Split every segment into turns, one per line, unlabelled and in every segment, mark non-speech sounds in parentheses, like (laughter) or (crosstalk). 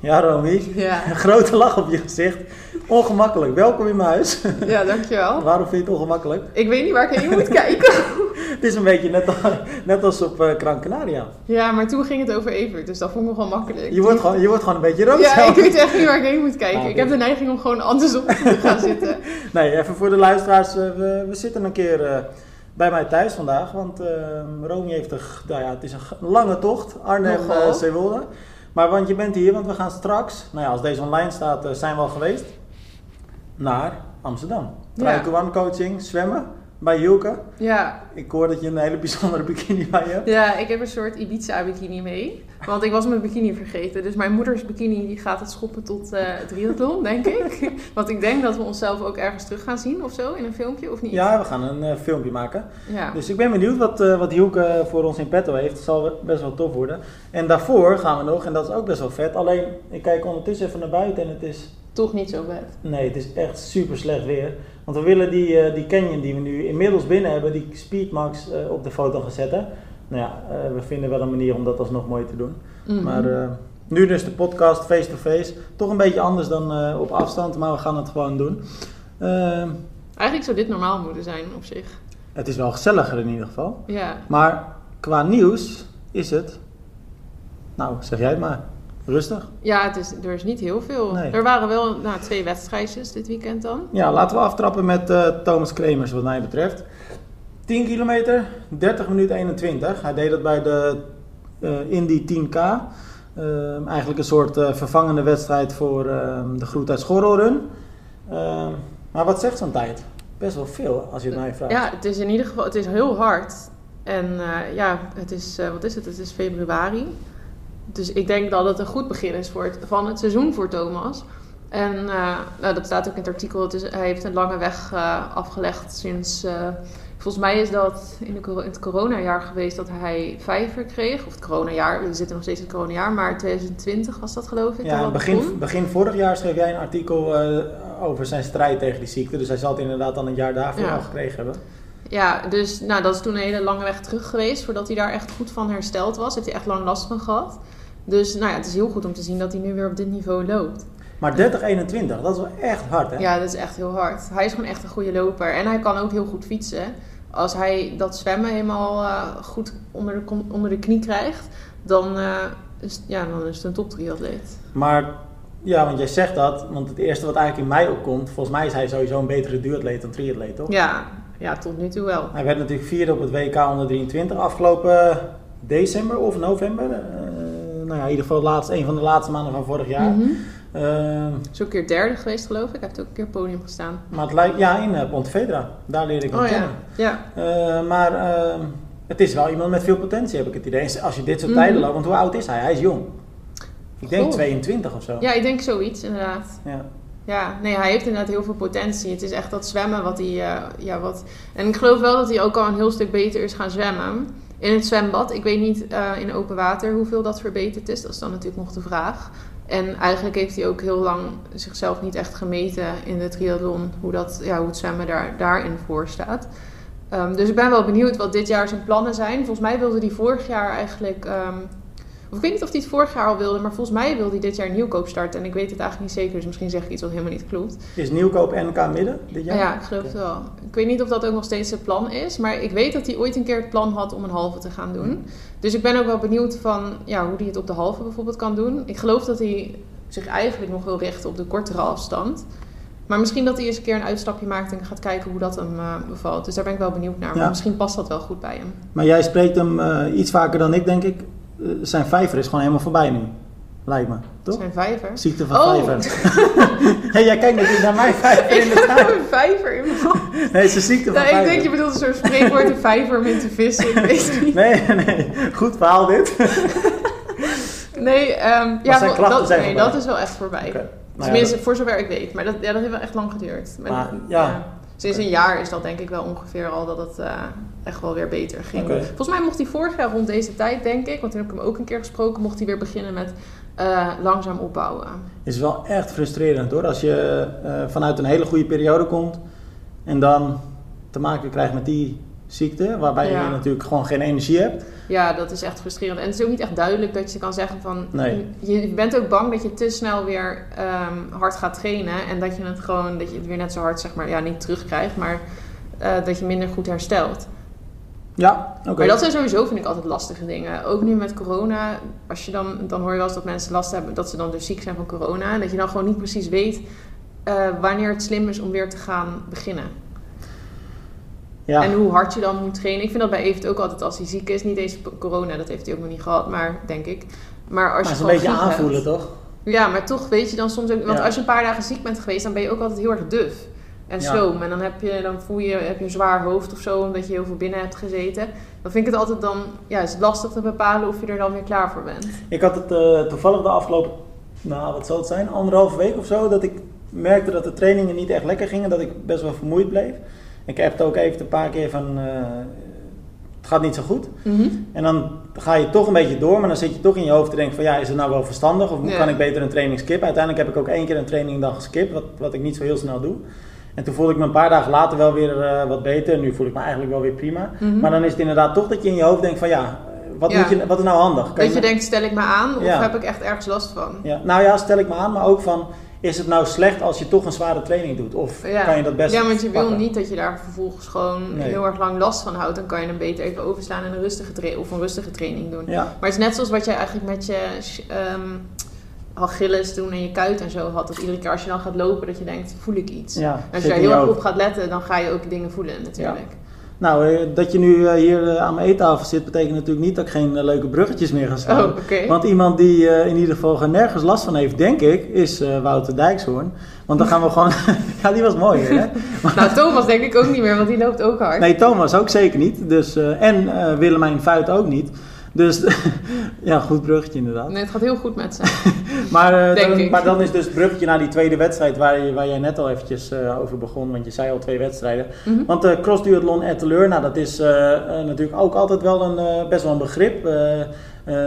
Ja, Romy.
Ja.
Een grote lach op je gezicht. Ongemakkelijk. Welkom in mijn huis.
ja, dankjewel.
Waarom vind je het ongemakkelijk?
Ik weet niet waar ik heen moet kijken.
(laughs) Het is een beetje net, al- net als op eh Gran Canaria.
Ja, maar toen ging het over Evert, dus dat vond ik nog wel makkelijk.
Je wordt gewoon, je wordt gewoon een beetje rood.
Ja, ik
zelf.
weet echt niet waar ik heen moet
Ah,
kijken. Ik
dit-
heb de neiging om gewoon andersom te gaan zitten.
Nee, even voor de luisteraars. eh, we, we zitten een keer eh, bij mij thuis vandaag. Want eh, Romy heeft een, g- nou ja, het is een g- lange tocht. Arnhem,
Nogal.
eh Zeewolde. Maar want je bent hier, want we gaan straks, nou ja, als deze online staat, eh, zijn we al geweest. Naar Amsterdam.
Ja.
Traikenwan coaching, zwemmen bij Julke.
Ja,
Ik hoor dat je een hele bijzondere bikini bij je hebt.
ja ik heb een soort Ibiza-bikini mee. Want ik was mijn bikini vergeten. Dus mijn moeders bikini die gaat het schoppen tot eh triathlon,
(laughs)
denk ik. Want ik denk dat we onszelf ook ergens terug gaan zien of zo in een filmpje, of niet?
Ja, we gaan een eh, filmpje maken.
Ja.
Dus ik ben benieuwd wat, eh wat Hielke voor ons in petto heeft. Het zal best wel tof worden. En daarvoor gaan we nog, en dat is ook best wel vet. Alleen, ik kijk ondertussen even naar buiten en het is...
Toch niet zo bad.
Nee, het is echt super slecht weer. Want we willen die, eh, die canyon die we nu inmiddels binnen hebben, die Speedmax, eh, op de foto gaan zetten. Nou ja, eh, we vinden wel een manier om dat alsnog mooi te doen.
Mhm.
Maar eh, nu dus de podcast face-to-face. Toch een beetje anders dan eh, op afstand, maar we gaan het gewoon doen. Ehm,
Eigenlijk zou dit normaal moeten zijn op zich.
het is wel gezelliger in ieder geval.
Ja.
Maar qua nieuws is het. Nou, zeg jij het maar. Rustig.
Ja, het is, er is niet heel veel.
Nee.
Er waren wel nou, twee wedstrijdjes dit weekend dan.
Ja, laten we aftrappen met eh, Thomas Kremers, wat mij betreft. 10 kilometer, 30 minuten 21. Hij deed dat bij de eh, Indy 10K. Ehm, eigenlijk een soort eh, vervangende wedstrijd voor ehm, de Groet uit Schorrelrun. Ehm, maar wat zegt zo'n tijd? Best wel veel, als je het mij vraagt.
Ja, het is in ieder geval het is heel hard. En eh, ja, het is, eh, wat is het? Het is februari. Dus ik denk dat het een goed begin is voor het, van het seizoen voor Thomas. En eh, nou, dat staat ook in het artikel. Het is, hij heeft een lange weg eh, afgelegd sinds... eh, volgens mij is dat in, de, cor- in het coronajaar geweest dat hij vijver kreeg. Of het coronajaar, we zitten nog steeds in het coronajaar. Maar 2020 was dat geloof
Ja,
ik. dat
aan het
dat
begin,
begon.
begin vorig jaar schreef jij een artikel eh, over zijn strijd tegen die ziekte. Dus hij zal het inderdaad al een jaar daarvoor
Ja.
al gekregen hebben.
Ja, dus nou, dat is toen een hele lange weg terug geweest voordat hij daar echt goed van hersteld was. Heeft hij echt lang last van gehad. Dus nou ja, het is heel goed om te zien dat hij nu weer op dit niveau loopt.
Maar 30-21, dat is wel echt hard, hè?
Ja, dat is echt heel hard. Hij is gewoon echt een goede loper en hij kan ook heel goed fietsen. Als hij dat zwemmen helemaal eh, goed onder de, kom- onder de knie krijgt, dan, eh, is, ja, dan is het een top 3 atleet.
Maar ja, want jij zegt dat, want het eerste wat eigenlijk in mij opkomt, volgens mij is hij sowieso een betere duatleet dan triatleet, toch?
Ja, ja, tot nu toe wel.
Hij werd natuurlijk vierde op het WK onder 23 afgelopen december of november. Eh, nou ja, in ieder geval het laatste, een van de laatste maanden van vorig jaar.
Mhm.
Eh,
Is ook een keer derde geweest geloof ik. Hij heeft ook een keer podium gestaan.
maar het lijkt, ja, in eh, Pontevedra, daar leerde ik hem
Oh ja,
kennen.
ja.
Eh, maar ehm, het is wel iemand met veel potentie, heb ik het idee. En Als je dit soort
Mhm.
tijden loopt, want hoe oud is hij? Hij is jong. Ik denk
Goh.
22 of zo.
ja, ik denk zoiets inderdaad.
Ja.
Ja, nee, hij heeft inderdaad heel veel potentie. Het is echt dat zwemmen wat hij... eh, ja, wat... En ik geloof wel dat hij ook al een heel stuk beter is gaan zwemmen. In het zwembad. Ik weet niet eh, in open water hoeveel dat verbeterd is. Dat is dan natuurlijk nog de vraag. En eigenlijk heeft hij ook heel lang zichzelf niet echt gemeten in de triathlon. Hoe, dat, ja, hoe het zwemmen daar, daarin voor staat. Ehm, dus ik ben wel benieuwd wat dit jaar zijn plannen zijn. Volgens mij wilde hij vorig jaar eigenlijk... ehm, of ik weet niet of hij het vorig jaar al wilde, maar volgens mij wilde hij dit jaar een nieuwkoop starten. En ik weet het eigenlijk niet zeker, dus misschien zeg ik iets wat helemaal niet klopt.
Is Nieuwkoop NK midden dit
Ja,
jaar?
ja ik geloof het wel. Ik weet niet of dat ook nog steeds zijn plan is, maar ik weet dat hij ooit een keer het plan had om een halve te gaan doen. Dus ik ben ook wel benieuwd van ja, hoe hij het op de halve bijvoorbeeld kan doen. Ik geloof dat hij zich eigenlijk nog wil richten op de kortere afstand. Maar misschien dat hij eens een keer een uitstapje maakt en gaat kijken hoe dat hem eh, bevalt. Dus daar ben ik wel benieuwd naar. Maar
Ja.
misschien past dat wel goed bij hem.
Maar jij spreekt hem eh, iets vaker dan ik, denk ik. Eh, zijn vijver is gewoon helemaal voorbij nu. Lijkt me, toch?
Zijn vijver.
Ziekte van
Oh.
vijver. (laughs) hey, jij kijkt natuurlijk naar mijn vijver
(laughs)
in
Ik
de
heb
tuin.
een vijver in mijn hand.
Nee, het is een ziekte van
Nee, ik
vijver.
denk je bedoelt een soort spreekwoord een vijver om in te vissen. Ik weet het niet.
Nee, (laughs) nee. Goed verhaal dit.
Nee, ehm, ja,
zijn
wel-
klachten
dat,
zijn
nee
voorbij.
dat is wel echt voorbij.
Oké. Nou ja,
Tenminste, voor zover ik weet. Maar dat, ja, dat heeft wel echt lang geduurd. Maar,
Maar,
dat-
ja.
Sinds
Oké.
een jaar is dat denk ik wel ongeveer al dat het eh, echt wel weer beter ging.
Oké.
Volgens mij mocht hij vorig jaar rond deze tijd, denk ik, want toen heb ik hem ook een keer gesproken, mocht hij weer beginnen met eh, langzaam opbouwen.
is wel echt frustrerend hoor. Als je eh, vanuit een hele goede periode komt en dan te maken krijgt met die ziekte, waarbij
Ja.
je natuurlijk gewoon geen energie hebt.
Ja, dat is echt frustrerend. En het is ook niet echt duidelijk dat je kan zeggen van... mm,
Nee.
Je bent ook bang dat je te snel weer ehm, hard gaat trainen. En dat je het gewoon, dat je het weer net zo hard, zeg maar, ja, niet terugkrijgt. Maar eh, dat je minder goed herstelt.
Ja, oké.
Maar dat zijn sowieso, vind ik, altijd lastige dingen. Ook nu met corona. Als je dan, dan hoor je wel eens dat mensen last hebben dat ze dan dus ziek zijn van corona. En dat je dan gewoon niet precies weet eh, wanneer het slim is om weer te gaan beginnen.
Ja.
En hoe hard je dan moet trainen. Ik vind dat bij Evert ook altijd als hij ziek is. Niet eens corona, dat heeft hij ook nog niet gehad, maar denk ik. Maar als
Maar het
je
is een
gewoon
beetje
griep
aanvoelen,
hebt-
toch?
Ja, maar toch weet je dan soms ook... Want
Ja.
als je een paar dagen ziek bent geweest, dan ben je ook altijd heel erg duf. En
Ja.
sloom. En dan, heb je, dan voel je, heb je een zwaar hoofd of zo, omdat je heel veel binnen hebt gezeten. Dan vind ik het altijd dan... Ja, is het lastig te bepalen of je er dan weer klaar voor bent.
Ik had het eh, toevallig de afgelopen, nou wat zal het zijn, anderhalf week of zo, dat ik merkte dat de trainingen niet echt lekker gingen, dat ik best wel vermoeid bleef. Ik heb het ook even een paar keer van, eh, het gaat niet zo goed. En dan ga je toch een beetje door, maar dan zit je toch in je hoofd te denken van ja, is het nou wel verstandig of
Ja.
kan ik beter een training skippen? Uiteindelijk heb ik ook één keer een training dan geskipt, wat, wat ik niet zo heel snel doe. En toen voelde ik me een paar dagen later wel weer eh, wat beter. Nu voel ik me eigenlijk wel weer prima.
Mhm.
Maar dan is het inderdaad toch dat je in je hoofd denkt van ja, wat,
Ja.
Moet je, wat is nou handig? Kan
dat je
me-
denkt, stel ik me aan of
Ja.
heb ik echt ergens last van?
ja, nou ja, stel ik me aan, maar ook van is het nou slecht als je toch een zware training doet? Of
Ja.
kan je dat best
Ja, want je wil
pakken?
niet dat je daar vervolgens gewoon
Nee.
heel erg lang last van houdt. Dan kan je hem beter even overslaan en een rustige, tra- of een rustige training doen.
Ja,
Maar het is net zoals wat jij eigenlijk met je ehm Achilles toen en je kuit en zo had. Dat iedere keer als je dan gaat lopen, dat je denkt, voel ik iets?
ja.
En als je
zit
daar
in je
heel erg
hoofd.
op gaat letten, dan ga je ook dingen voelen natuurlijk.
Nou, eh, dat je nu eh, hier eh, aan mijn eettafel zit, betekent natuurlijk niet dat ik geen eh, leuke bruggetjes meer ga slaan.
Oh, oké.
Want iemand die eh, in ieder geval er nergens last van heeft, denk ik, is eh, Wouter Dijkshoorn. Want dan gaan we gewoon... (laughs) ja, die was mooi weer, hè?
Nou, Thomas denk ik ook niet meer, want die loopt ook hard.
Nee, Thomas ook zeker niet. Dus, eh, en eh, Willemijn Fuit ook niet. Dus (laughs) ja, goed bruggetje inderdaad.
Nee, het gaat heel goed
(laughs)
met ze.
Maar, eh,
Denk
dan,
ik.
maar dan is dus het bruggetje naar die tweede wedstrijd waar, je, waar jij net al eventjes eh, over begon. Want je zei al twee wedstrijden.
Mhm.
Want de cross duathlon Etteleur, nou dat is eh, eh, natuurlijk ook altijd wel een, eh, best wel een begrip. Eh, eh,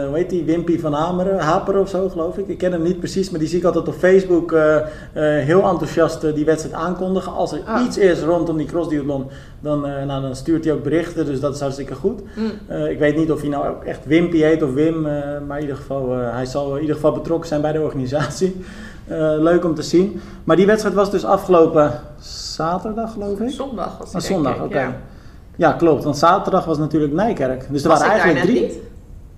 hoe heet die? Wimpy van Hameren, Haperen of zo geloof ik. Ik ken hem niet precies, maar die zie ik altijd op Facebook eh, eh, heel enthousiast eh, die wedstrijd aankondigen. Als er
Ah.
iets is rondom die cross duathlon, dan, eh, nou, dan stuurt hij ook berichten. Dus dat is hartstikke goed.
Mm.
Eh, ik weet niet of hij nou ook echt Wimpy heet of Wim, eh, maar in ieder geval, eh, hij zal in ieder geval betrokken zijn bij de organisatie. (laughs) Eh, leuk om te zien. Maar die wedstrijd was dus afgelopen zaterdag, geloof ik.
Zondag was
Ah,
het
zondag, oké.
denk ik,
Ja.
ja.
klopt, want zaterdag was natuurlijk Nijkerk. Dus er
Was
waren
ik daar
eigenlijk
net
drie.
niet?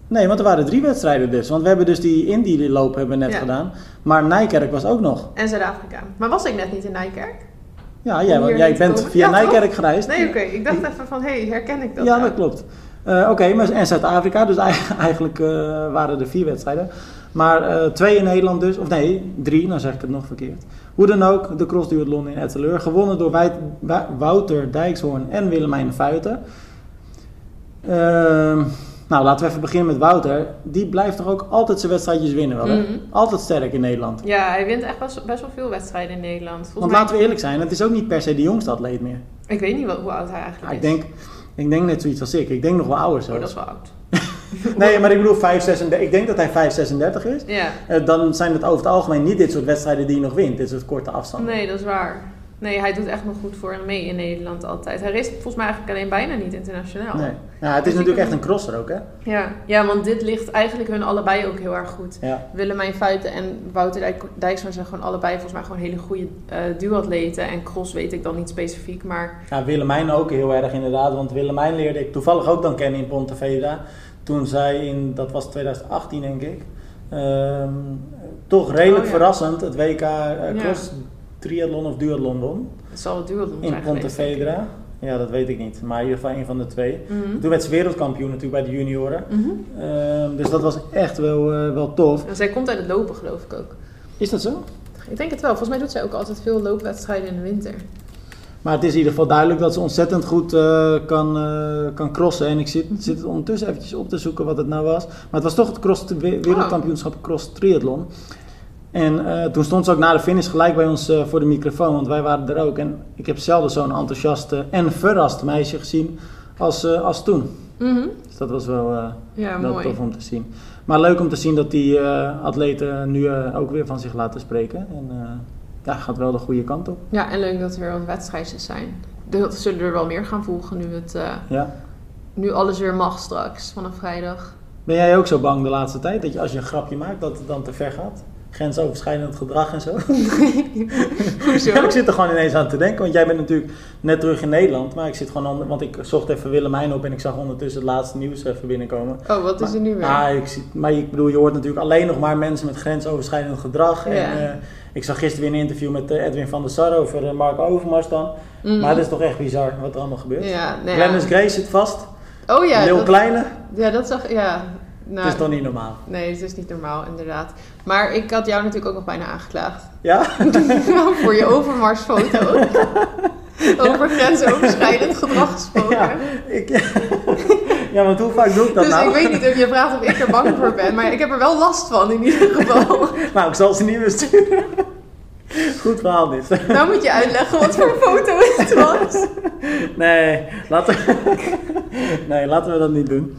Nee, want er waren drie wedstrijden dus. Want we hebben dus die Indie-loop hebben we net
Ja.
gedaan. Maar Nijkerk was ook nog.
En Zuid-Afrika. Maar was ik net niet in Nijkerk?
Ja, Ah, jij,
Om hier
jij
heen te
bent
komen.
via
Ja, toch?
Nijkerk gereisd.
Nee, oké. Ik dacht even van, hé, hey, herken ik dat
ja,
nou?
dat klopt. Eh, Oké, maar en Zuid-Afrika, dus (laughs) ei- eigenlijk eh, waren er vier wedstrijden. Maar eh, twee in Nederland dus, of nee, drie, dan zeg ik het nog verkeerd. Hoe dan ook, de crossduathlon in Etteleur, gewonnen door Wij- Wa- Wouter Dijkshoorn en Willemijn Fuiten. Ehm, nou, laten we even beginnen met Wouter. Die blijft toch ook altijd zijn wedstrijdjes winnen, wel hè?
Mhm.
Altijd sterk in Nederland.
Ja, hij wint echt best, best wel veel wedstrijden in Nederland.
Want
Volgens mij,
laten we eerlijk zijn, het is ook niet per se de jongste atleet meer.
ik weet niet wel, hoe oud hij eigenlijk
Ah, ik,
is.
denk, ik denk net zoiets als ik. Ik denk nog wel ouder
Oh,
zelfs.
dat is wel oud.
Nee, maar ik bedoel 5, 36. Ik denk dat hij 5, 36 is.
Ja.
Eh, dan zijn het over het algemeen niet dit soort wedstrijden die je nog wint. Dit soort korte afstanden.
Nee, dat is waar. Nee, hij doet echt nog goed voor en mee in Nederland altijd. Hij race volgens mij eigenlijk alleen bijna niet internationaal.
Nee. Nou, het is
Dus ik
natuurlijk
hem-
echt een crosser ook, hè?
Ja. ja, want dit ligt eigenlijk hun allebei ook heel erg goed.
Ja.
Willemijn Fuiten en Wouter Dijk, Dijksma zijn gewoon allebei volgens mij gewoon hele goede eh duatleten. En cross weet ik dan niet specifiek, maar...
Nou, Willemijn ook heel erg inderdaad. Want Willemijn leerde ik toevallig ook dan kennen in Pontevedra. Toen zij in, dat was 2018 denk ik. ehm, toch redelijk
Oh, ja.
verrassend het WK eh,
Ja.
cross triathlon of duathlon won.
Het zal wel duatlon
In
zijn geweest, denk ik.
Pontevedra. Ja, dat weet ik niet. Maar in ieder geval een van de twee.
Mhm.
Toen werd ze wereldkampioen natuurlijk bij de junioren.
Mhm.
Ehm, dus dat was echt wel, eh, wel tof.
En zij komt uit het lopen, geloof ik ook.
Is dat zo?
Ik denk het wel. Volgens mij doet zij ook altijd veel loopwedstrijden in de winter.
Maar het is in ieder geval duidelijk dat ze ontzettend goed eh, kan, eh, kan crossen. En ik zit, zit het ondertussen eventjes op te zoeken wat het nou was. Maar het was toch het cross, we- wereldkampioenschap cross triathlon. En eh, toen stond ze ook na de finish gelijk bij ons eh, voor de microfoon, want wij waren er ook. En ik heb zelden zo'n enthousiaste en verrast meisje gezien als, eh, als toen.
Mhm.
Dus dat was wel, eh,
Ja,
wel
mooi.
tof om te zien. Maar leuk om te zien dat die eh, atleten nu eh, ook weer van zich laten spreken. En eh, ja, gaat wel de goede kant op.
Ja, en leuk dat er wel wedstrijdjes zijn. er zullen er wel meer gaan volgen nu, het, eh,
Ja.
nu alles weer mag straks vanaf vrijdag.
Ben jij ook zo bang de laatste tijd dat je als je een grapje maakt dat het dan te ver gaat? Grensoverschrijdend gedrag en zo.
Hoezo?
(laughs) ik zit er gewoon ineens aan te denken, want jij bent natuurlijk net terug in Nederland, maar ik zit gewoon onder, want ik zocht even Willemijn op en ik zag ondertussen het laatste nieuws even binnenkomen.
Oh, wat is er nu weer?
Ah, ik zie, maar ik bedoel, je hoort natuurlijk alleen nog maar mensen met grensoverschrijdend gedrag. En,
Ja.
eh, ik zag gisteren weer een interview met eh, Edwin van der Sar over eh, Mark Overmars dan.
Mm.
Maar het is toch echt bizar wat er allemaal gebeurt.
ja, nou ja.
Glennis Grace zit vast.
Oh ja,
Lil
dat-
Kleine.
ja, dat zag ja. Nou,
Het is toch niet normaal?
Nee, het is niet normaal, inderdaad. Maar ik had jou natuurlijk ook nog bijna aangeklaagd.
Ja? (laughs)
(laughs) Voor je overmarsfoto. Over grensoverschrijdend gedrag gesproken.
ja, ik, (laughs) ja, want hoe vaak doe ik dat
dus
nou?
ik weet niet of je vraagt of ik er bang voor ben, maar ik heb er wel last van in ieder
(laughs)
geval.
Nou, ik zal ze niet meer sturen. (laughs) Goed verhaal dit.
nou moet je uitleggen wat voor foto het
(laughs)
was.
Nee, laten we, (laughs) nee, laten we dat niet doen.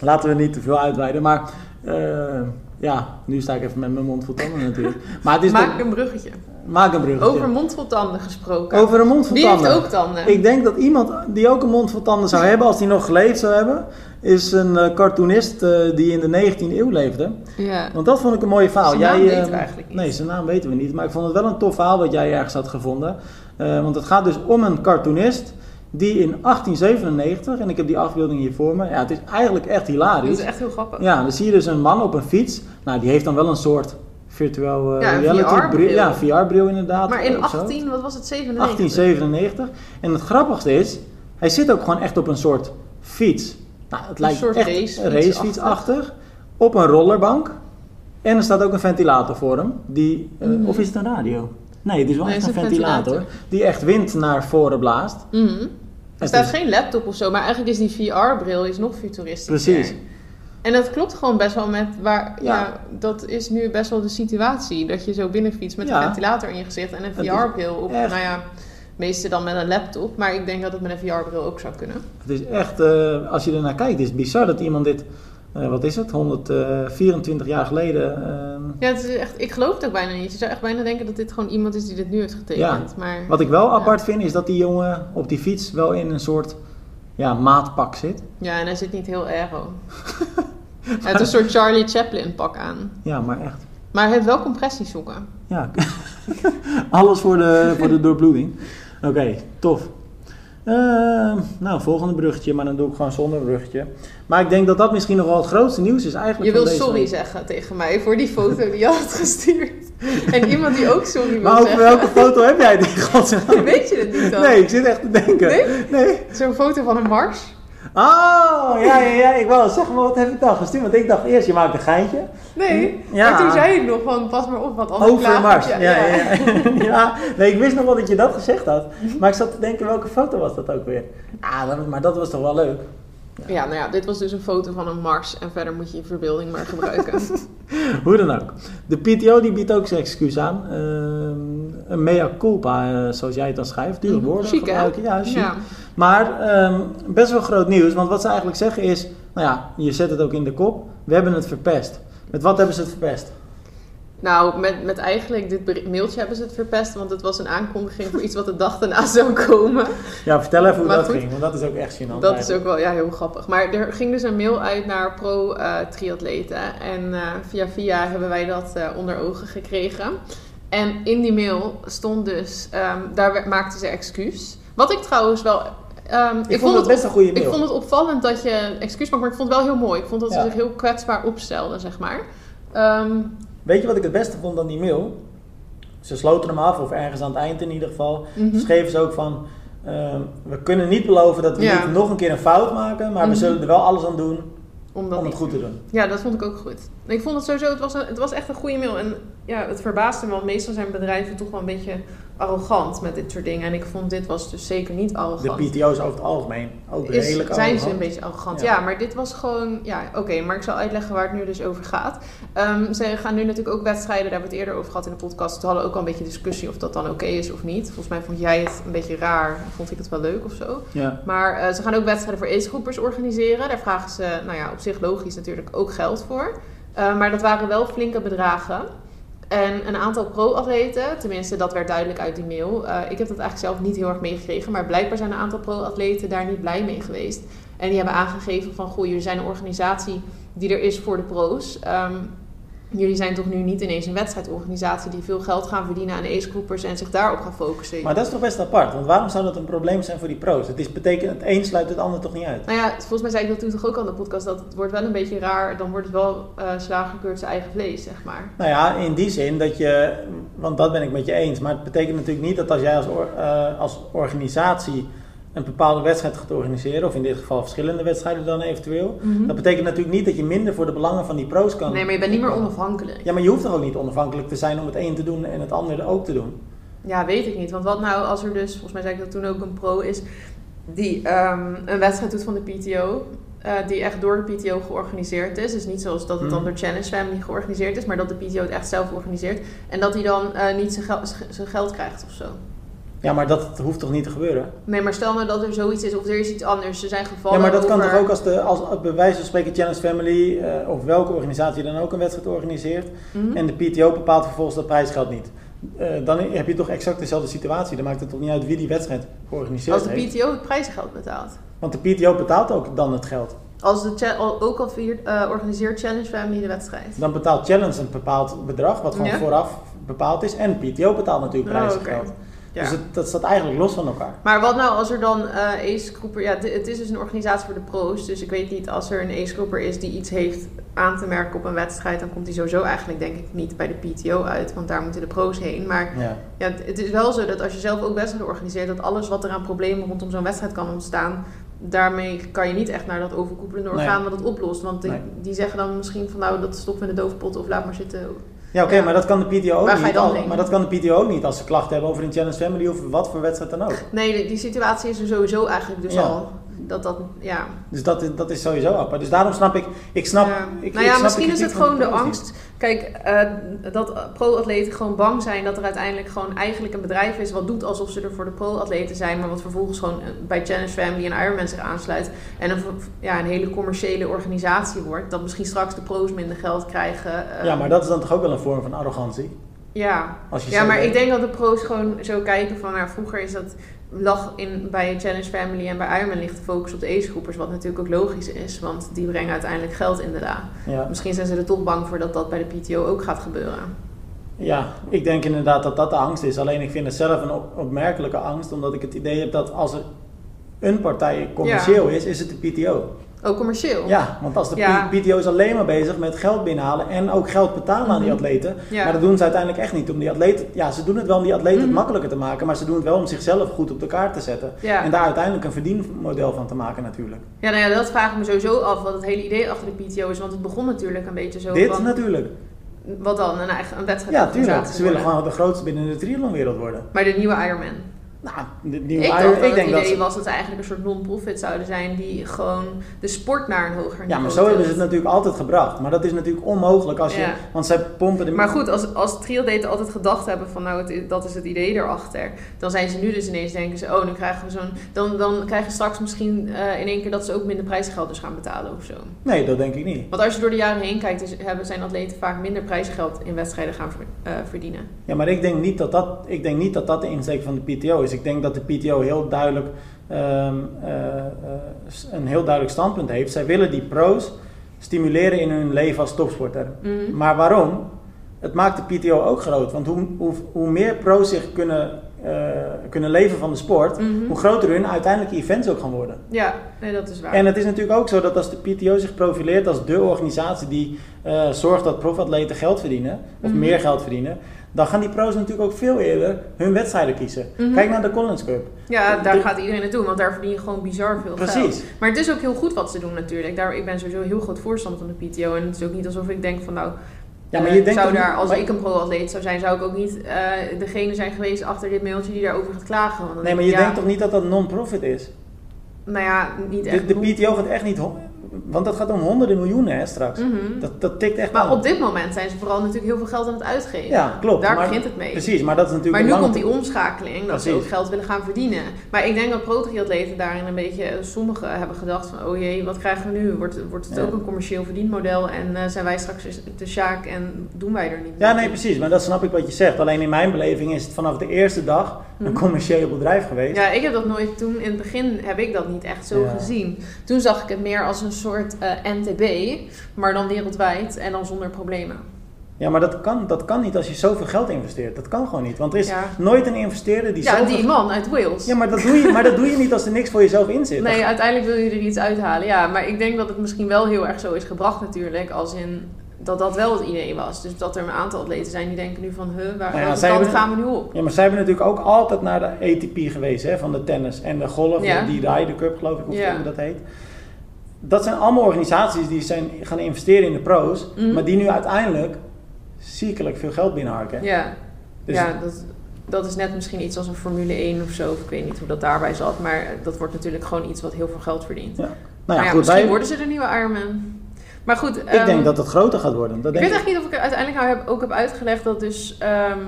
Laten we niet te veel uitweiden. Maar eh, ja, nu sta ik even met mijn mond vol tanden natuurlijk. Maar het is
Maak
toch-
een bruggetje.
maak een Dus bruggetje.
Over mond vol tanden gesproken.
Over een mond vol
Wie heeft
tanden.
ook tanden?
Ik denk dat iemand die ook een mond vol tanden zou hebben, als die nog geleefd zou hebben, is een eh, cartoonist eh, die in de 19e eeuw leefde.
Ja.
Want dat vond ik een mooie verhaal.
Zijn naam
Jij,
weten we
eh,
eigenlijk niet.
Nee, zijn naam weten we niet. Maar ik vond het wel een tof verhaal wat jij ergens had gevonden. Eh, want het gaat dus om een cartoonist die in 1897, en ik heb die afbeelding hier voor me. Ja, het is eigenlijk echt
Dat is
hilarisch.
echt heel grappig.
Ja, dan zie je dus een man op een fiets. Nou, die heeft dan wel een soort virtueel eh,
Ja, een
reality
VR-bril.
Ja, VR-bril inderdaad.
Maar in
of zo.
18, wat was het, 97?
1897. En het grappigste is, hij zit ook gewoon echt op een soort fiets. Nou, het lijkt
soort
echt
racefietsachtig.
racefietsachtig. Op een rollerbank. En er staat ook een ventilator voor hem. Die, eh,
Mhm.
Of is het een radio? Nee, het is wel
Nee,
echt
het
een
is een
ventilator,
ventilator.
Die echt wind naar voren blaast.
Mhm. Er
Het
staat
is-
geen laptop of zo, maar eigenlijk is die VR-bril is nog futuristischer.
Precies.
En dat klopt gewoon best wel met waar. Ja.
Ja.
dat is nu best wel de situatie. Dat je zo binnenfietst met
Ja.
een ventilator in je gezicht en een
Het is
VR-bril op.
echt-
Nou ja, meeste dan met een laptop. Maar ik denk dat het met een VR-bril ook zou kunnen.
Het is echt, eh, als je ernaar kijkt, is het bizar dat iemand dit, eh, wat is het, 124 jaar geleden. ehm,
Ja, het is echt, ik geloof het ook bijna niet. Je zou echt bijna denken dat dit gewoon iemand is die dit nu heeft getekend. Maar
wat ik wel
Ja.
apart vind, is dat die jongen op die fiets wel in een soort ja, maatpak zit.
ja, en hij zit niet heel
(laughs)
aero. hij heeft een soort Charlie Chaplin-pak aan.
Ja, maar echt.
Maar hij heeft wel compressiesokken.
Ja. (laughs) Alles voor de, voor de doorbloeding. Oké, tof. Ehm, nou, volgende bruggetje, maar dan doe ik gewoon zonder bruggetje. Maar ik denk dat dat misschien nog wel het grootste nieuws is eigenlijk.
Je
van
wil
deze
sorry
week.
zeggen tegen mij voor die foto die je had gestuurd. En iemand die ook sorry wil
Maar over
zeggen.
welke foto heb jij
(laughs)
die godsnaam?
Weet je het niet dan?
Nee, ik zit echt te denken.
Nee?
nee.
Zo'n foto van een mars?
Oh, ja, ja, ja. Ik wou zeg maar wat heb ik dan gestuurd? Want ik dacht eerst, je maakt een geintje.
Nee.
Ja.
Maar toen zei je nog van, pas maar op, want anders
Over
klagen we
Mars.
je.
Ja, ja, ja.
(laughs)
Ja, (laughs) nee, ik wist nog wel dat je dat gezegd had.
Mhm.
Maar ik zat te denken, welke foto was dat ook weer? Ah, dat- maar dat was toch wel leuk?
Ja, nou ja, dit was dus een foto van een mars. En verder moet je je verbeelding maar
(laughs)
gebruiken.
Hoe dan ook. De PTO die biedt ook zijn excuus aan. Ehm, een mea culpa, eh, zoals jij het dan schrijft. Dure woorden.
Mhm. Chic, hè?
gebruiken. Ja, chic. Maar ehm, best wel groot nieuws. Want wat ze eigenlijk zeggen is... Nou ja, je zet het ook in de kop. We hebben het verpest. Met wat hebben ze het verpest?
Nou, met, met eigenlijk dit beri- mailtje hebben ze het verpest. Want het was een aankondiging voor iets wat de dag daarna (laughs) zou komen.
Ja, vertel even hoe
Maar
dat
goed.
ging. Want dat is ook echt gênant.
Dat is
eigenlijk.
ook wel ja, heel grappig. Maar er ging dus een mail uit naar pro-triatleten. en eh, via via hebben wij dat eh, onder ogen gekregen. En in die mail stond dus, ehm, daar werd- maakten ze excuus. Wat ik trouwens wel... ehm,
Ik, vond het best een goede mail.
ik vond het opvallend dat je een excuus maakt, maar ik vond het wel heel mooi. Ik vond dat ze
Ja.
zich heel kwetsbaar opstelden, zeg maar. Ehm,
Weet je wat ik het beste vond aan die mail? Ze sloten hem af, of ergens aan het eind in ieder geval.
Mhm.
Schreven ze ook van... ehm, we kunnen niet beloven dat we
Ja.
niet nog een keer een fout maken, maar
Mhm.
we zullen er wel alles aan doen
omdat
om
ik-
het goed te doen.
Ja, dat vond ik ook goed. Ik vond het sowieso, het was, een- het was echt een goede mail. En ja, het verbaasde me, want meestal zijn bedrijven toch wel een beetje arrogant met dit soort dingen. En ik vond dit was dus zeker niet arrogant.
De PTO's over het algemeen ook
Is-
redelijk
zijn ze
arrogant.
een beetje arrogant. Ja,
Ja.
maar dit was gewoon... Ja, oké, maar ik zal uitleggen waar het nu dus over gaat. Ehm, ze gaan nu natuurlijk ook wedstrijden, daar hebben we het eerder over gehad in de podcast. We hadden ook al een beetje discussie of dat dan oké is of niet. Volgens mij vond jij het een beetje raar. Vond ik het wel leuk of zo.
Ja.
Maar eh, ze gaan ook wedstrijden voor agegroepers organiseren. Daar vragen ze, nou ja, op zich logisch natuurlijk ook geld voor. Eh, maar dat waren wel flinke bedragen. En een aantal pro-atleten, tenminste dat werd duidelijk uit die mail. eh, ik heb dat eigenlijk zelf niet heel erg meegekregen, maar blijkbaar zijn een aantal pro-atleten daar niet blij mee geweest. En die hebben aangegeven van, goh, jullie zijn een organisatie die er is voor de pro's. Ehm, jullie zijn toch nu niet ineens een wedstrijdorganisatie die veel geld gaan verdienen aan acegroepers en zich daarop gaan focussen.
Maar dat is toch best apart? Want waarom zou dat een probleem zijn voor die pro's? Het is, betekent, het een sluit het ander toch niet uit?
Nou ja, volgens mij zei ik dat toen toch ook al in de podcast, dat het wordt wel een beetje raar, dan wordt het wel eh slaaggekeurd zijn eigen vlees, zeg maar.
Nou ja, in die zin dat je, want dat ben ik met je eens, maar het betekent natuurlijk niet dat als jij als, or- eh, als organisatie een bepaalde wedstrijd gaat organiseren, of in dit geval verschillende wedstrijden dan eventueel, dat betekent natuurlijk niet dat je minder voor de belangen van die pro's kan.
Mhm. Nee, maar je bent niet meer onafhankelijk.
Ja, maar je hoeft toch ook niet onafhankelijk te zijn om het een te doen en het ander ook te doen?
Ja, weet ik niet. Want wat nou als er dus, volgens mij zei ik dat toen ook, een pro is die ehm, een wedstrijd doet van de PTO. eh, die echt door de PTO georganiseerd is. Dus niet zoals dat het dan
Mhm.
door Challenge Family georganiseerd is, maar dat de PTO het echt zelf organiseert. En dat hij dan eh, niet zijn gel- z- zijn geld krijgt of zo.
Ja, maar dat hoeft toch niet te gebeuren?
Nee, maar stel nou dat er zoiets is of er is iets anders. Er zijn gevallen.
Ja, maar dat kan
over-
toch ook als, de, als, als bij wijze van spreken Challenge Family eh, of welke organisatie dan ook een wedstrijd organiseert
Mhm.
en de PTO bepaalt vervolgens dat prijsgeld niet. Eh, dan heb je toch exact dezelfde situatie. Dan maakt het toch niet uit wie die wedstrijd georganiseerd
Als de
heeft.
PTO het prijsgeld betaalt.
Want de PTO betaalt ook dan het geld.
Als de cha- al- ook al vier, eh, organiseert Challenge Family de wedstrijd.
Dan betaalt Challenge een bepaald bedrag, wat gewoon
Ja.
vooraf bepaald is. En PTO betaalt natuurlijk
Oh,
prijsgeld.
oké. Ja.
Dus het, dat staat eigenlijk los van elkaar.
Maar wat nou als er dan eh ace groeper... Ja, d- het is dus een organisatie voor de pro's. Dus ik weet niet, als er een ace groeper is die iets heeft aan te merken op een wedstrijd... dan komt die sowieso eigenlijk denk ik niet bij de PTO uit. Want daar moeten de pro's heen. Maar
Ja.
ja, het het is wel zo dat als je zelf ook wedstrijden organiseert... dat alles wat er aan problemen rondom zo'n wedstrijd kan ontstaan... daarmee kan je niet echt naar dat overkoepelende
Nee.
orgaan wat het oplost. Want die,
Nee.
die zeggen dan misschien van nou, dat stoppen we in de doofpot of laat maar zitten.
Ja, oké,
Ja.
maar dat kan de PTO ook
Waar ga je
niet.
dan
al-
heen?
maar dat kan de PTO ook niet als ze klachten hebben over een Challenge Family of wat voor wedstrijd dan ook.
Nee, die, die situatie is er sowieso eigenlijk dus
Ja.
al. Dat dat, ja...
Dus dat is, dat is sowieso apart. Dus daarom snap ik, ik snap...
Ja.
Ik,
nou
ik
ja,
snap
misschien is
kritiek
het
van
gewoon de
pro's niet.
angst. Kijk, eh, dat pro-atleten gewoon bang zijn dat er uiteindelijk gewoon eigenlijk een bedrijf is wat doet alsof ze er voor de pro-atleten zijn, maar wat vervolgens gewoon eh, bij Challenge Family en Ironman zich aansluit en een, v- ja, een hele commerciële organisatie wordt. Dat misschien straks de pro's minder geld krijgen. eh,
Ja, maar dat is dan toch ook wel een vorm van arrogantie?
ja.
Als je
Ja,
zo
maar
denkt.
ik denk dat de pro's gewoon zo kijken van, nou, vroeger is dat lag in, bij Challenge Family en bij Ironman ligt de focus op de ace-groepers, wat natuurlijk ook logisch is, want die brengen uiteindelijk geld in de la.
Ja.
Misschien zijn ze er toch bang voor dat dat bij de PTO ook gaat gebeuren.
ja, ik denk inderdaad dat dat de angst is. Alleen ik vind het zelf een op- opmerkelijke angst, omdat ik het idee heb dat als er een partij commercieel is, is het de PTO.
Ook commercieel.
Ja, want als de
Ja.
P- PTO is alleen maar bezig met geld binnenhalen en ook geld betalen aan die
Mhm.
atleten.
Ja.
Maar dat doen ze uiteindelijk echt niet om die atleten... Ja, ze doen het wel om die atleten
Mhm.
het makkelijker te maken, maar ze doen het wel om zichzelf goed op de kaart te zetten.
Ja.
En daar uiteindelijk een verdienmodel van te maken natuurlijk.
Ja, nou ja, dat vraag ik me sowieso af, wat het hele idee achter de PTO is. Want het begon natuurlijk een beetje zo
Dit
van,
natuurlijk.
wat dan, een eigen een wedstrijd.
Ja, tuurlijk. Ze
organisatie
willen
worden.
gewoon de grootste binnen de triathlonwereld worden.
Maar de nieuwe Ironman.
Nou, de
Ik
nieuwe
dacht
Iron-
dat het idee
ze-
was dat ze eigenlijk een soort non-profit zouden zijn die gewoon de sport naar een hoger niveau
Ja, maar zo hebben ze het
tilden.
natuurlijk altijd gebracht. Maar dat is natuurlijk onmogelijk als je...
Ja.
Want zij pompen de...
Maar goed, als, als triatleten altijd gedacht hebben van nou, het is- dat is het idee erachter. Dan zijn ze nu dus ineens denken ze, oh, dan krijgen we zo'n... Dan, dan krijgen ze straks misschien eh, in één keer dat ze ook minder prijsgeld dus gaan betalen of zo.
Nee, dat denk ik niet.
Want als je door de jaren heen kijkt, is, hebben, zijn atleten vaak minder prijsgeld in wedstrijden gaan ver- eh, verdienen.
Ja, maar ik denk niet dat dat, ik denk niet dat, dat de insteek van de PTO is. Ik denk dat de PTO heel duidelijk ehm, eh, eh, s- een heel duidelijk standpunt heeft. Zij willen die pro's stimuleren in hun leven als topsporter.
Mhm.
Maar waarom? Het maakt de PTO ook groot. Want hoe, hoe, hoe meer pro's zich kunnen, eh, kunnen leven van de sport,
Mhm.
hoe groter hun uiteindelijke events ook gaan worden.
Ja, nee, dat is waar.
En het is natuurlijk ook zo dat als de PTO zich profileert als de organisatie die eh, zorgt dat profatleten geld verdienen, of
Mhm.
meer geld verdienen, dan gaan die pro's natuurlijk ook veel eerder hun wedstrijden kiezen.
Mhm.
Kijk naar de Collins Cup.
ja, daar
de-
gaat iedereen het doen, want daar verdien je gewoon bizar veel geld.
Precies.
Maar het is ook heel goed wat ze doen natuurlijk. Daar, ik ben sowieso heel groot voorstander van de PTO. En het is ook niet alsof ik denk van nou,
Ja, maar
eh,
je denkt
zou
toch
daar,
niet-
als
maar-
ik een pro-atleet zou zijn, zou ik ook niet eh, degene zijn geweest achter dit mailtje die daarover gaat klagen. Want
Nee,
dan denk
maar
ik,
je
ja,
denkt toch niet dat dat non-profit is?
Nou ja, niet
De,
echt.
de PTO gaat echt niet... hon- want dat gaat om honderden miljoenen hè, straks.
Mhm.
Dat, dat tikt echt
Maar
aan.
op dit moment zijn ze vooral natuurlijk heel veel geld aan het uitgeven.
ja, klopt.
Daar
maar-
begint het mee.
Precies, maar dat is natuurlijk
Maar nu
een lange-
komt die omschakeling, dat ze
Precies.
ook geld willen gaan verdienen. Maar ik denk dat pro-triatleten daarin een beetje, eh, sommigen hebben gedacht van, oh jee, wat krijgen we nu? Wordt, wordt het
Ja.
ook een commercieel verdienmodel en eh, zijn wij straks de Sjaak en doen wij er niet
Ja,
meer
nee,
toe?
precies. Maar dat snap ik wat je zegt. Alleen in mijn beleving is het vanaf de eerste dag een
Mhm.
commercieel bedrijf geweest.
Ja, ik heb dat nooit toen, in het begin heb ik dat niet echt zo
Ja.
gezien. Toen zag ik het meer als een soort eh, NTB, maar dan wereldwijd en dan zonder problemen.
Ja, maar dat kan, dat kan niet als je zoveel geld investeert. Dat kan gewoon niet. Want er is
Ja.
nooit een investeerder die
ja,
zoveel...
die man uit Wales.
Ja, maar dat, doe je, maar dat doe je niet als er niks voor jezelf in zit.
Nee, uiteindelijk wil je er iets uithalen. Ja, maar ik denk dat het misschien wel heel erg zo is gebracht natuurlijk. Als in dat dat wel het idee was. Dus dat er een aantal atleten zijn die denken nu van... Huh, waar
Nou ja,
welke
zij
kant
hebben-
gaan we nu op?
Ja, maar zij hebben natuurlijk ook altijd naar de ATP geweest, hè, van de tennis en de golf,
Ja.
die Ryder Cup geloof ik, of
Ja.
hoe dat heet. Dat zijn allemaal organisaties die zijn gaan investeren in de pro's,
Mhm.
maar die nu uiteindelijk ziekelijk veel geld binnenharken.
Ja,
Dus
ja dat, dat is net misschien iets als een Formule 1 of zo. Of ik weet niet hoe dat daarbij zat. Maar dat wordt natuurlijk gewoon iets wat heel veel geld verdient.
nou ja,
maar ja,
goed,
misschien
wij,
worden ze de nieuwe armen. Maar goed...
ik
ehm,
denk dat het groter gaat worden. Dat
Ik
denk
weet
ik.
eigenlijk niet of ik er uiteindelijk nou heb, ook heb uitgelegd dat dus... ehm,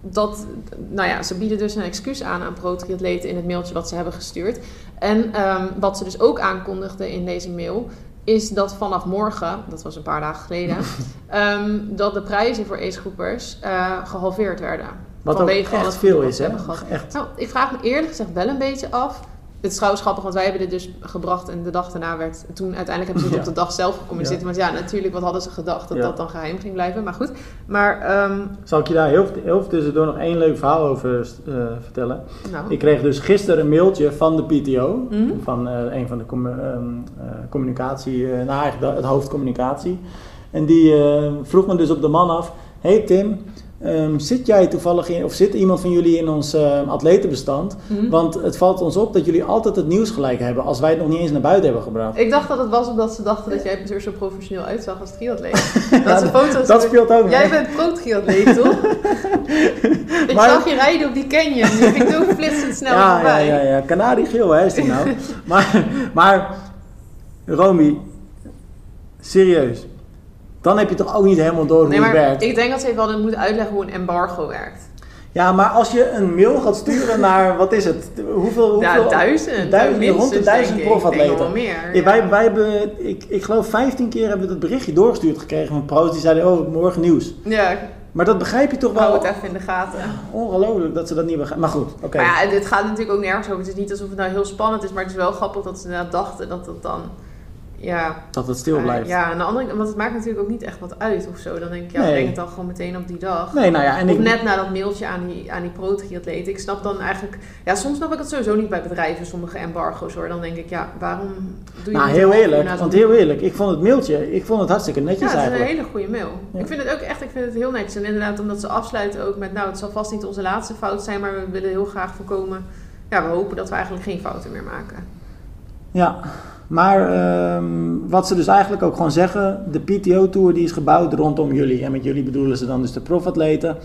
dat, nou ja, ze bieden dus een excuus aan aan pro-triatleten in het mailtje wat ze hebben gestuurd. En ehm, wat ze dus ook aankondigden in deze mail... is dat vanaf morgen, dat was een paar dagen
(laughs)
geleden... ehm, dat de prijzen voor agegroepers eh, gehalveerd werden.
Wat ook
Vanwege al
echt
het
veel
voordeel
is,
wat
hè?
ze hebben gehad.
Echt.
Nou, ik vraag me eerlijk gezegd wel een beetje af. Het is trouwens grappig, want wij hebben dit dus gebracht en de dag daarna werd... Toen uiteindelijk hebben ze het
Ja.
op de dag zelf gecommuniceerd. Want ja, natuurlijk, wat hadden ze gedacht? Dat
Ja.
dat dan geheim ging blijven. Maar goed, maar... ehm,
Zal ik je daar heel, heel tussendoor nog één leuk verhaal over eh, vertellen?
nou,
Ik kreeg dus gisteren een mailtje van de PTO,
Mhm.
van eh, een van de commu- ehm, eh, communicatie, eh, nou eigenlijk de- het hoofdcommunicatie. En die eh, vroeg me dus op de man af: Hey Tim, ehm, zit jij toevallig in, of zit iemand van jullie in ons ehm, atletenbestand?
Mhm.
Want het valt ons op dat jullie altijd het nieuws gelijk hebben als wij het nog niet eens naar buiten hebben gebracht.
Mhm. ik dacht dat het was omdat ze dachten dat jij er zo professioneel uitzag
(laughs)
als triatleet. (laughs) dat ze foto's...
Dat speelt ook
Jij
mee.
bent pro-triatleet,
(laughs)
toch? ik
Maar-
zag je rijden op die canyon. Je ging zo flitsend snel
ja, ja,
voorbij.
ja, ja. Kanariegeel, hè, is die nou.
(laughs)
maar, maar, Romy, serieus. Dan heb je toch ook niet helemaal door
Nee,
hoe het
maar
werkt.
ik denk dat ze even hadden moeten uitleggen hoe een embargo werkt.
Ja, maar als je een mail gaat sturen naar, wat is het? Hoeveel? hoeveel
Ja, duizend.
Duizend,
Minstens,
rond de
denk
duizend
ik.
profatleten.
Ik denk wel meer.
Ja,
ja.
wij, wij hebben, ik, ik geloof 15 keer hebben we dat berichtje doorgestuurd gekregen van pro's. Die zeiden, oh, morgen nieuws.
Ja,
Maar dat begrijp je toch
hou
wel?
het even in de gaten.
Ongelooflijk dat ze dat niet begrijpen. Maar goed, oké.
Maar ja, dit gaat natuurlijk ook nergens over. Het is niet alsof het nou heel spannend is, maar het is wel grappig dat ze inderdaad dachten dat dat dan. Ja, eh,
Dat het stil blijft.
ja, aan de andere kant, want het maakt natuurlijk ook niet echt wat uit of zo. Dan denk ik, ja,
Nee.
breng het dan gewoon meteen op die dag.
Nee, nou ja. En
Of
ik,
net na dat mailtje aan die, aan die pro-triatleet. Ik snap dan eigenlijk... Ja, soms snap ik het sowieso niet bij bedrijven, sommige embargo's hoor. Dan denk ik, ja, waarom doe je
nou,
niet
heel
een-
eerlijk.
na zo'n-
Want heel eerlijk, ik vond het mailtje, ik vond het hartstikke netjes
Ja, het is
eigenlijk.
een hele goede mail.
Ja.
Ik vind het ook echt, ik vind het heel netjes. En inderdaad, omdat ze afsluiten ook met, nou, het zal vast niet onze laatste fout zijn, maar we willen heel graag voorkomen. Ja, we hopen dat we eigenlijk geen fouten meer maken.
Ja, maar ehm, wat ze dus eigenlijk ook gewoon zeggen, de PTO-tour die is gebouwd rondom jullie. En met jullie bedoelen ze dan dus de profatleten.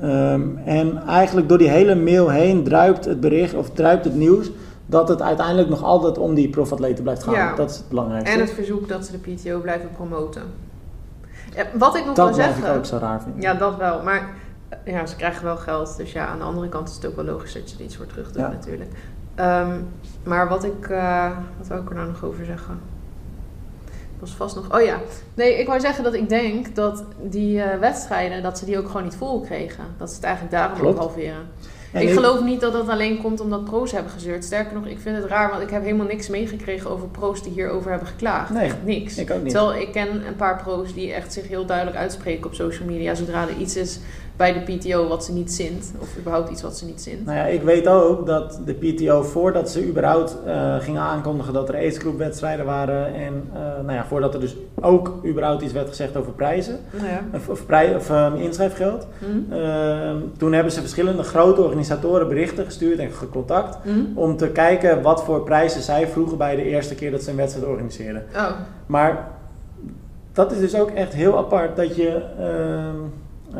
Ehm, en eigenlijk door die hele mail heen druipt het bericht of druipt het nieuws dat het uiteindelijk nog altijd om die profatleten blijft gaan.
Ja.
Dat is het belangrijkste.
En het verzoek dat ze de PTO blijven promoten. Ja, wat ik nog wil
dat blijf ik
zeggen.
ook zo raar vinden.
Ja, dat wel. Maar eh, ja, ze krijgen wel geld. Dus ja, aan de andere kant is het ook wel logisch dat je er iets voor terug doet
Ja.
natuurlijk. Ehm, maar wat ik... eh, wat wil ik er nou nog over zeggen? was vast nog... Oh ja. Nee, ik wou zeggen dat ik denk dat die eh, wedstrijden... dat ze die ook gewoon niet vol kregen. Dat ze het eigenlijk daarom ook
Klopt.
halveren.
En
ik geloof niet dat dat alleen komt omdat pro's hebben gezeurd. Sterker nog, ik vind het raar, want ik heb helemaal niks meegekregen over pro's die hierover hebben geklaagd.
Nee,
Echt niks.
ik ook niet.
Terwijl ik ken een paar pro's die echt zich heel duidelijk uitspreken op social media zodra er iets is bij de PTO wat ze niet zint. Of überhaupt iets wat ze niet zint.
Nou ja, ik weet ook dat de PTO voordat ze überhaupt eh, gingen aankondigen dat er aidsgroepwedstrijden waren en eh, nou ja, voordat er dus ook überhaupt iets werd gezegd over prijzen,
Ja.
Of, of, prij- of ehm, inschrijfgeld.
Hm?
Ehm, toen hebben ze verschillende grote organisatoren berichten gestuurd en gecontact.
Hm?
Om te kijken wat voor prijzen zij vroegen bij de eerste keer dat ze een wedstrijd organiseerden.
Oh,
Maar dat is dus ook echt heel apart dat je ehm,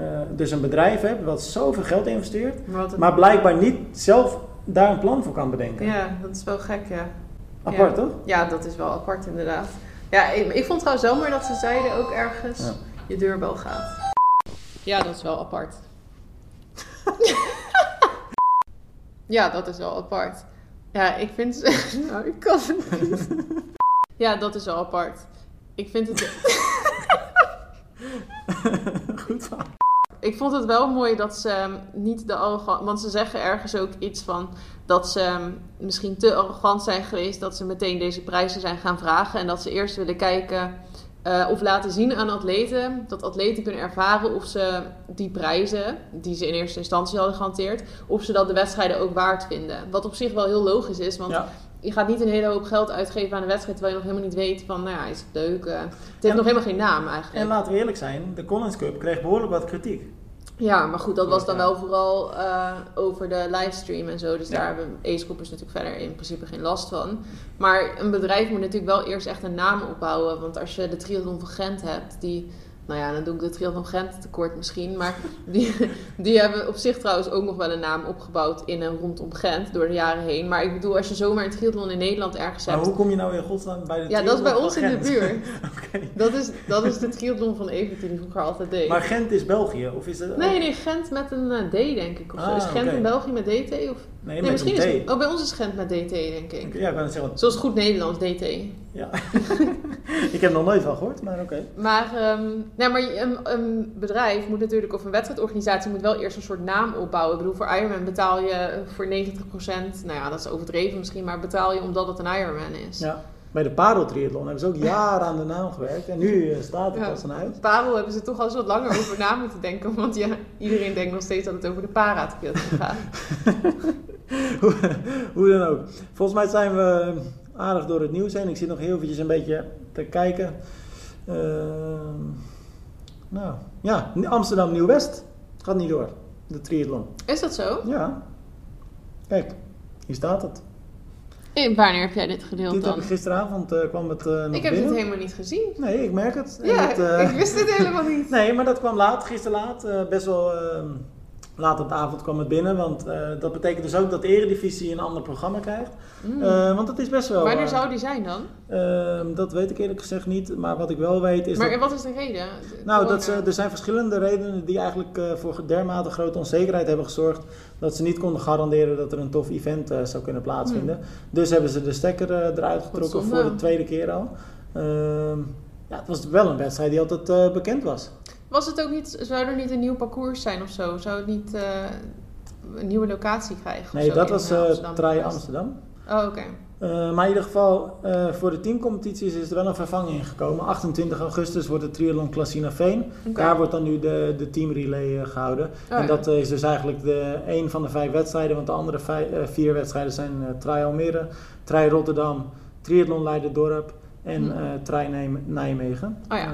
eh, dus een bedrijf hebt wat zoveel geld investeert.
maar wat een-
Maar blijkbaar niet zelf daar een plan voor kan bedenken.
Ja, dat is wel gek, ja.
Apart toch?
Ja, dat is wel apart inderdaad. Ja, ik, ik vond trouwens wel mooi dat ze zeiden ook ergens
Ja.
je deurbel gaat. Ja, dat is wel apart. (laughs) ja, dat is wel apart. Ja, ik vind... (laughs) nou, ik kan het niet. ja, dat is wel apart. Ik vind het...
Goed verhaal.
Ik vond het wel mooi dat ze ehm, niet de arrogant... Want ze zeggen ergens ook iets van dat ze ehm, misschien te arrogant zijn geweest... dat ze meteen deze prijzen zijn gaan vragen... en dat ze eerst willen kijken eh, of laten zien aan atleten... dat atleten kunnen ervaren of ze die prijzen... die ze in eerste instantie hadden gehanteerd... of ze dat de wedstrijden ook waard vinden. Wat op zich wel heel logisch is, want...
Ja.
Je gaat niet een hele hoop geld uitgeven aan een wedstrijd... terwijl je nog helemaal niet weet van, nou ja, is het leuk? eh, het heeft
En-
nog helemaal geen naam eigenlijk.
En laten we eerlijk zijn, de Collins Cup kreeg behoorlijk wat kritiek.
Ja, maar goed, dat was dan
Oh, Ja.
wel vooral eh, over de livestream en zo. Dus
Ja.
daar hebben e-scoopers natuurlijk verder in principe geen last van. Maar een bedrijf moet natuurlijk wel eerst echt een naam opbouwen. Want als je de triathlon van Gent hebt, die... Nou ja, dan doe ik de triathlon van Gent tekort misschien. Maar die, die hebben op zich trouwens ook nog wel een naam opgebouwd in en rondom Gent door de jaren heen. Maar ik bedoel, als je zomaar een triathlon in Nederland ergens
Maar
hebt...
hoe kom je nou in godsnaam bij de
Ja, dat is bij
triathlon
ons
van
in de
Gent?
buurt.
(laughs) Oké.
Dat is, dat is de triathlon van Evert die die vroeger altijd deed.
Maar Gent is België, of is dat...
Nee, nee, Gent met een eh, D denk ik. Of zo.
Ah,
Is Gent
oké.
in België met DT? Of... Nee,
nee met
misschien
een
is
T.
Oh, bij ons is Gent met DT denk ik.
Ja, ik kan het zeggen. want-
Zoals goed Nederlands, DT.
Ja. (laughs) ik heb nog nooit van gehoord, maar oké.
Maar, ehm, nee, maar je- een, een bedrijf moet natuurlijk, of een wedstrijdorganisatie moet wel eerst een soort naam opbouwen. Ik bedoel, voor Ironman betaal je voor 90%, nou ja, dat is overdreven misschien, maar betaal je omdat het een Ironman is.
Ja. Bij de pareltriathlon hebben ze ook jaren aan de naam gewerkt. En nu eh, staat het
Ja.
als een uit.
Parel hebben ze toch al eens wat langer over na moeten denken, want ja, iedereen denkt nog steeds dat het over de para gaat.
Hoe- Hoe dan ook. Volgens mij zijn we aardig door het nieuws heen. Ik zit nog heel eventjes een beetje te kijken. Ehm, nou, ja. Amsterdam Nieuw-West gaat niet door. De triathlon.
Is dat zo?
Ja. Kijk, hier staat het.
En wanneer heb jij dit gedeeld
Dit heb
dan?
ik gisteravond eh, kwam het eh nog
Ik heb dit
binnen.
helemaal niet gezien.
Nee, ik merk het. En
Ja,
het, eh,
ik wist dit helemaal niet.
Nee, maar dat kwam laat, gisteren laat. eh, best wel eh, laat op de avond kwam het binnen. Want eh, dat betekent dus ook dat de Eredivisie een ander programma krijgt.
(laughs) Mm.
Eh, want dat is best wel...
Wanneer
eh,
zou die zijn dan?
Ehm, dat weet ik eerlijk gezegd niet. Maar wat ik wel weet is
maar Oh,
dat...
wat is de reden?
Nou,
Corona.
dat ze, er zijn verschillende redenen die eigenlijk eh, voor dermate grote onzekerheid hebben gezorgd... dat ze niet konden garanderen dat er een tof event eh, zou kunnen plaatsvinden.
Hmm.
Dus hebben ze de stekker eh, eruit getrokken
zonde.
voor de tweede keer al. Ehm, ja, het was wel een wedstrijd die altijd eh, bekend was.
Was het ook niet, zou er niet een nieuw parcours zijn of zo? Zou het niet eh, een nieuwe locatie krijgen? of
Nee,
zo
dat
in,
was
eh,
eh
Amsterdam
Try
West?
Amsterdam.
Oh, oké.
Eh, maar in ieder geval, eh, voor de teamcompetities is er wel een vervanging gekomen. 28 augustus wordt de triathlon Klassina Veen.
Oké. Oh,
Daar wordt dan nu de, de teamrelay eh, gehouden.
ja.
en dat eh, is dus eigenlijk de, één van de vijf wedstrijden. Want de andere vij- eh, vier wedstrijden zijn eh Tri Almere, Tri Rotterdam, Triathlon Leiderdorp en
Hm.
eh Tri Nijm- Nijmegen.
Oh ja.
Eh,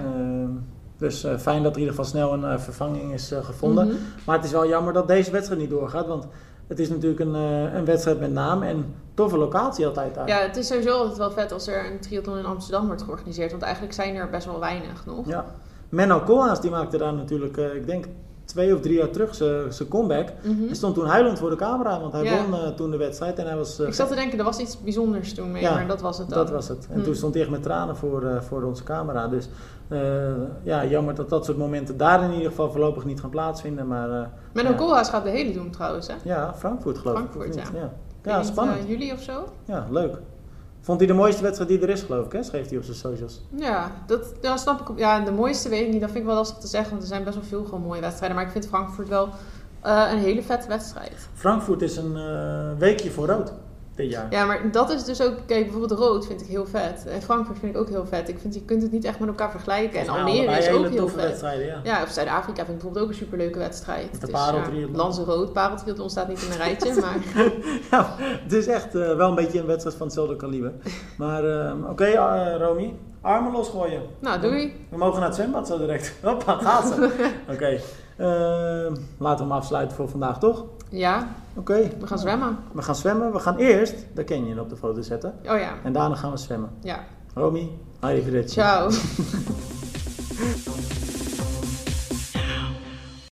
dus eh, fijn dat er in ieder geval snel een eh, vervanging is eh, gevonden.
Mhm.
Maar het is wel jammer dat deze wedstrijd niet doorgaat. Want het is natuurlijk een, eh, een wedstrijd met naam en toffe locatie altijd daar.
Ja, het is sowieso altijd wel vet als er een triathlon in Amsterdam wordt georganiseerd. Want eigenlijk zijn er best wel weinig nog.
Ja. Menno Koolhaas die maakte daar natuurlijk, eh, ik denk twee of drie jaar terug, zijn zijn comeback.
Mhm.
Hij stond toen huilend voor de camera, want hij
Ja.
won eh, toen de wedstrijd. En hij was, eh,
Ik zat te denken, er was iets bijzonders toen mee,
Ja,
maar dat was het dan.
dat was het. En
Hm.
toen stond hij echt met tranen voor, eh, voor onze camera. Dus eh, ja, jammer dat dat soort momenten daar in ieder geval voorlopig niet gaan plaatsvinden. Maar eh,
Menno
Ja.
Koolhaas gaat de hele doen trouwens, hè? Ik
ja, Frankfurt geloof ik.
Frankfurt,
of niet? Ja,
weet
ja
niet,
spannend.
eh, juli of zo?
Ja, leuk. Vond hij de mooiste wedstrijd die er is, geloof ik, hè? Schreef hij op zijn socials.
Ja, dat, ja, snap ik. Ja, de mooiste weet ik niet. Dat vind ik wel lastig te zeggen, want er zijn best wel veel gewoon mooie wedstrijden. Maar ik vind Frankfurt wel eh, een hele vette wedstrijd.
Frankfurt is een eh, weekje voor rood dit jaar.
Ja, maar dat is dus ook... Kijk, bijvoorbeeld Rood vind ik heel vet. En Frankfurt vind ik ook heel vet. Ik vind, je kunt het niet echt met elkaar vergelijken. En
Volgens mij
Almere
allebei
is ook
hele
heel
toffe
vet.
wedstrijden, ja.
Ja, of Zuid-Afrika vind ik bijvoorbeeld ook een superleuke wedstrijd.
Met de
Dus,
pareltriathlon.
ja, Lanzarote, pareltriathlon staat niet in een
(laughs)
rijtje, maar...
Ja, Nou, het is echt eh, wel een beetje een wedstrijd van hetzelfde kaliber. Maar ehm, oké, eh, Romy. Armen losgooien.
Nou, doei.
We mogen naar het zwembad zo direct. (laughs) Hoppa, gaat ze. Oké. ehm, laten we hem afsluiten voor vandaag, toch? Oké.
Ja, we gaan zwemmen.
We gaan zwemmen. We gaan eerst de canyon op de foto zetten.
Oh ja,
En daarna gaan we zwemmen.
ja.
Romy, arrivederci.
Ciao.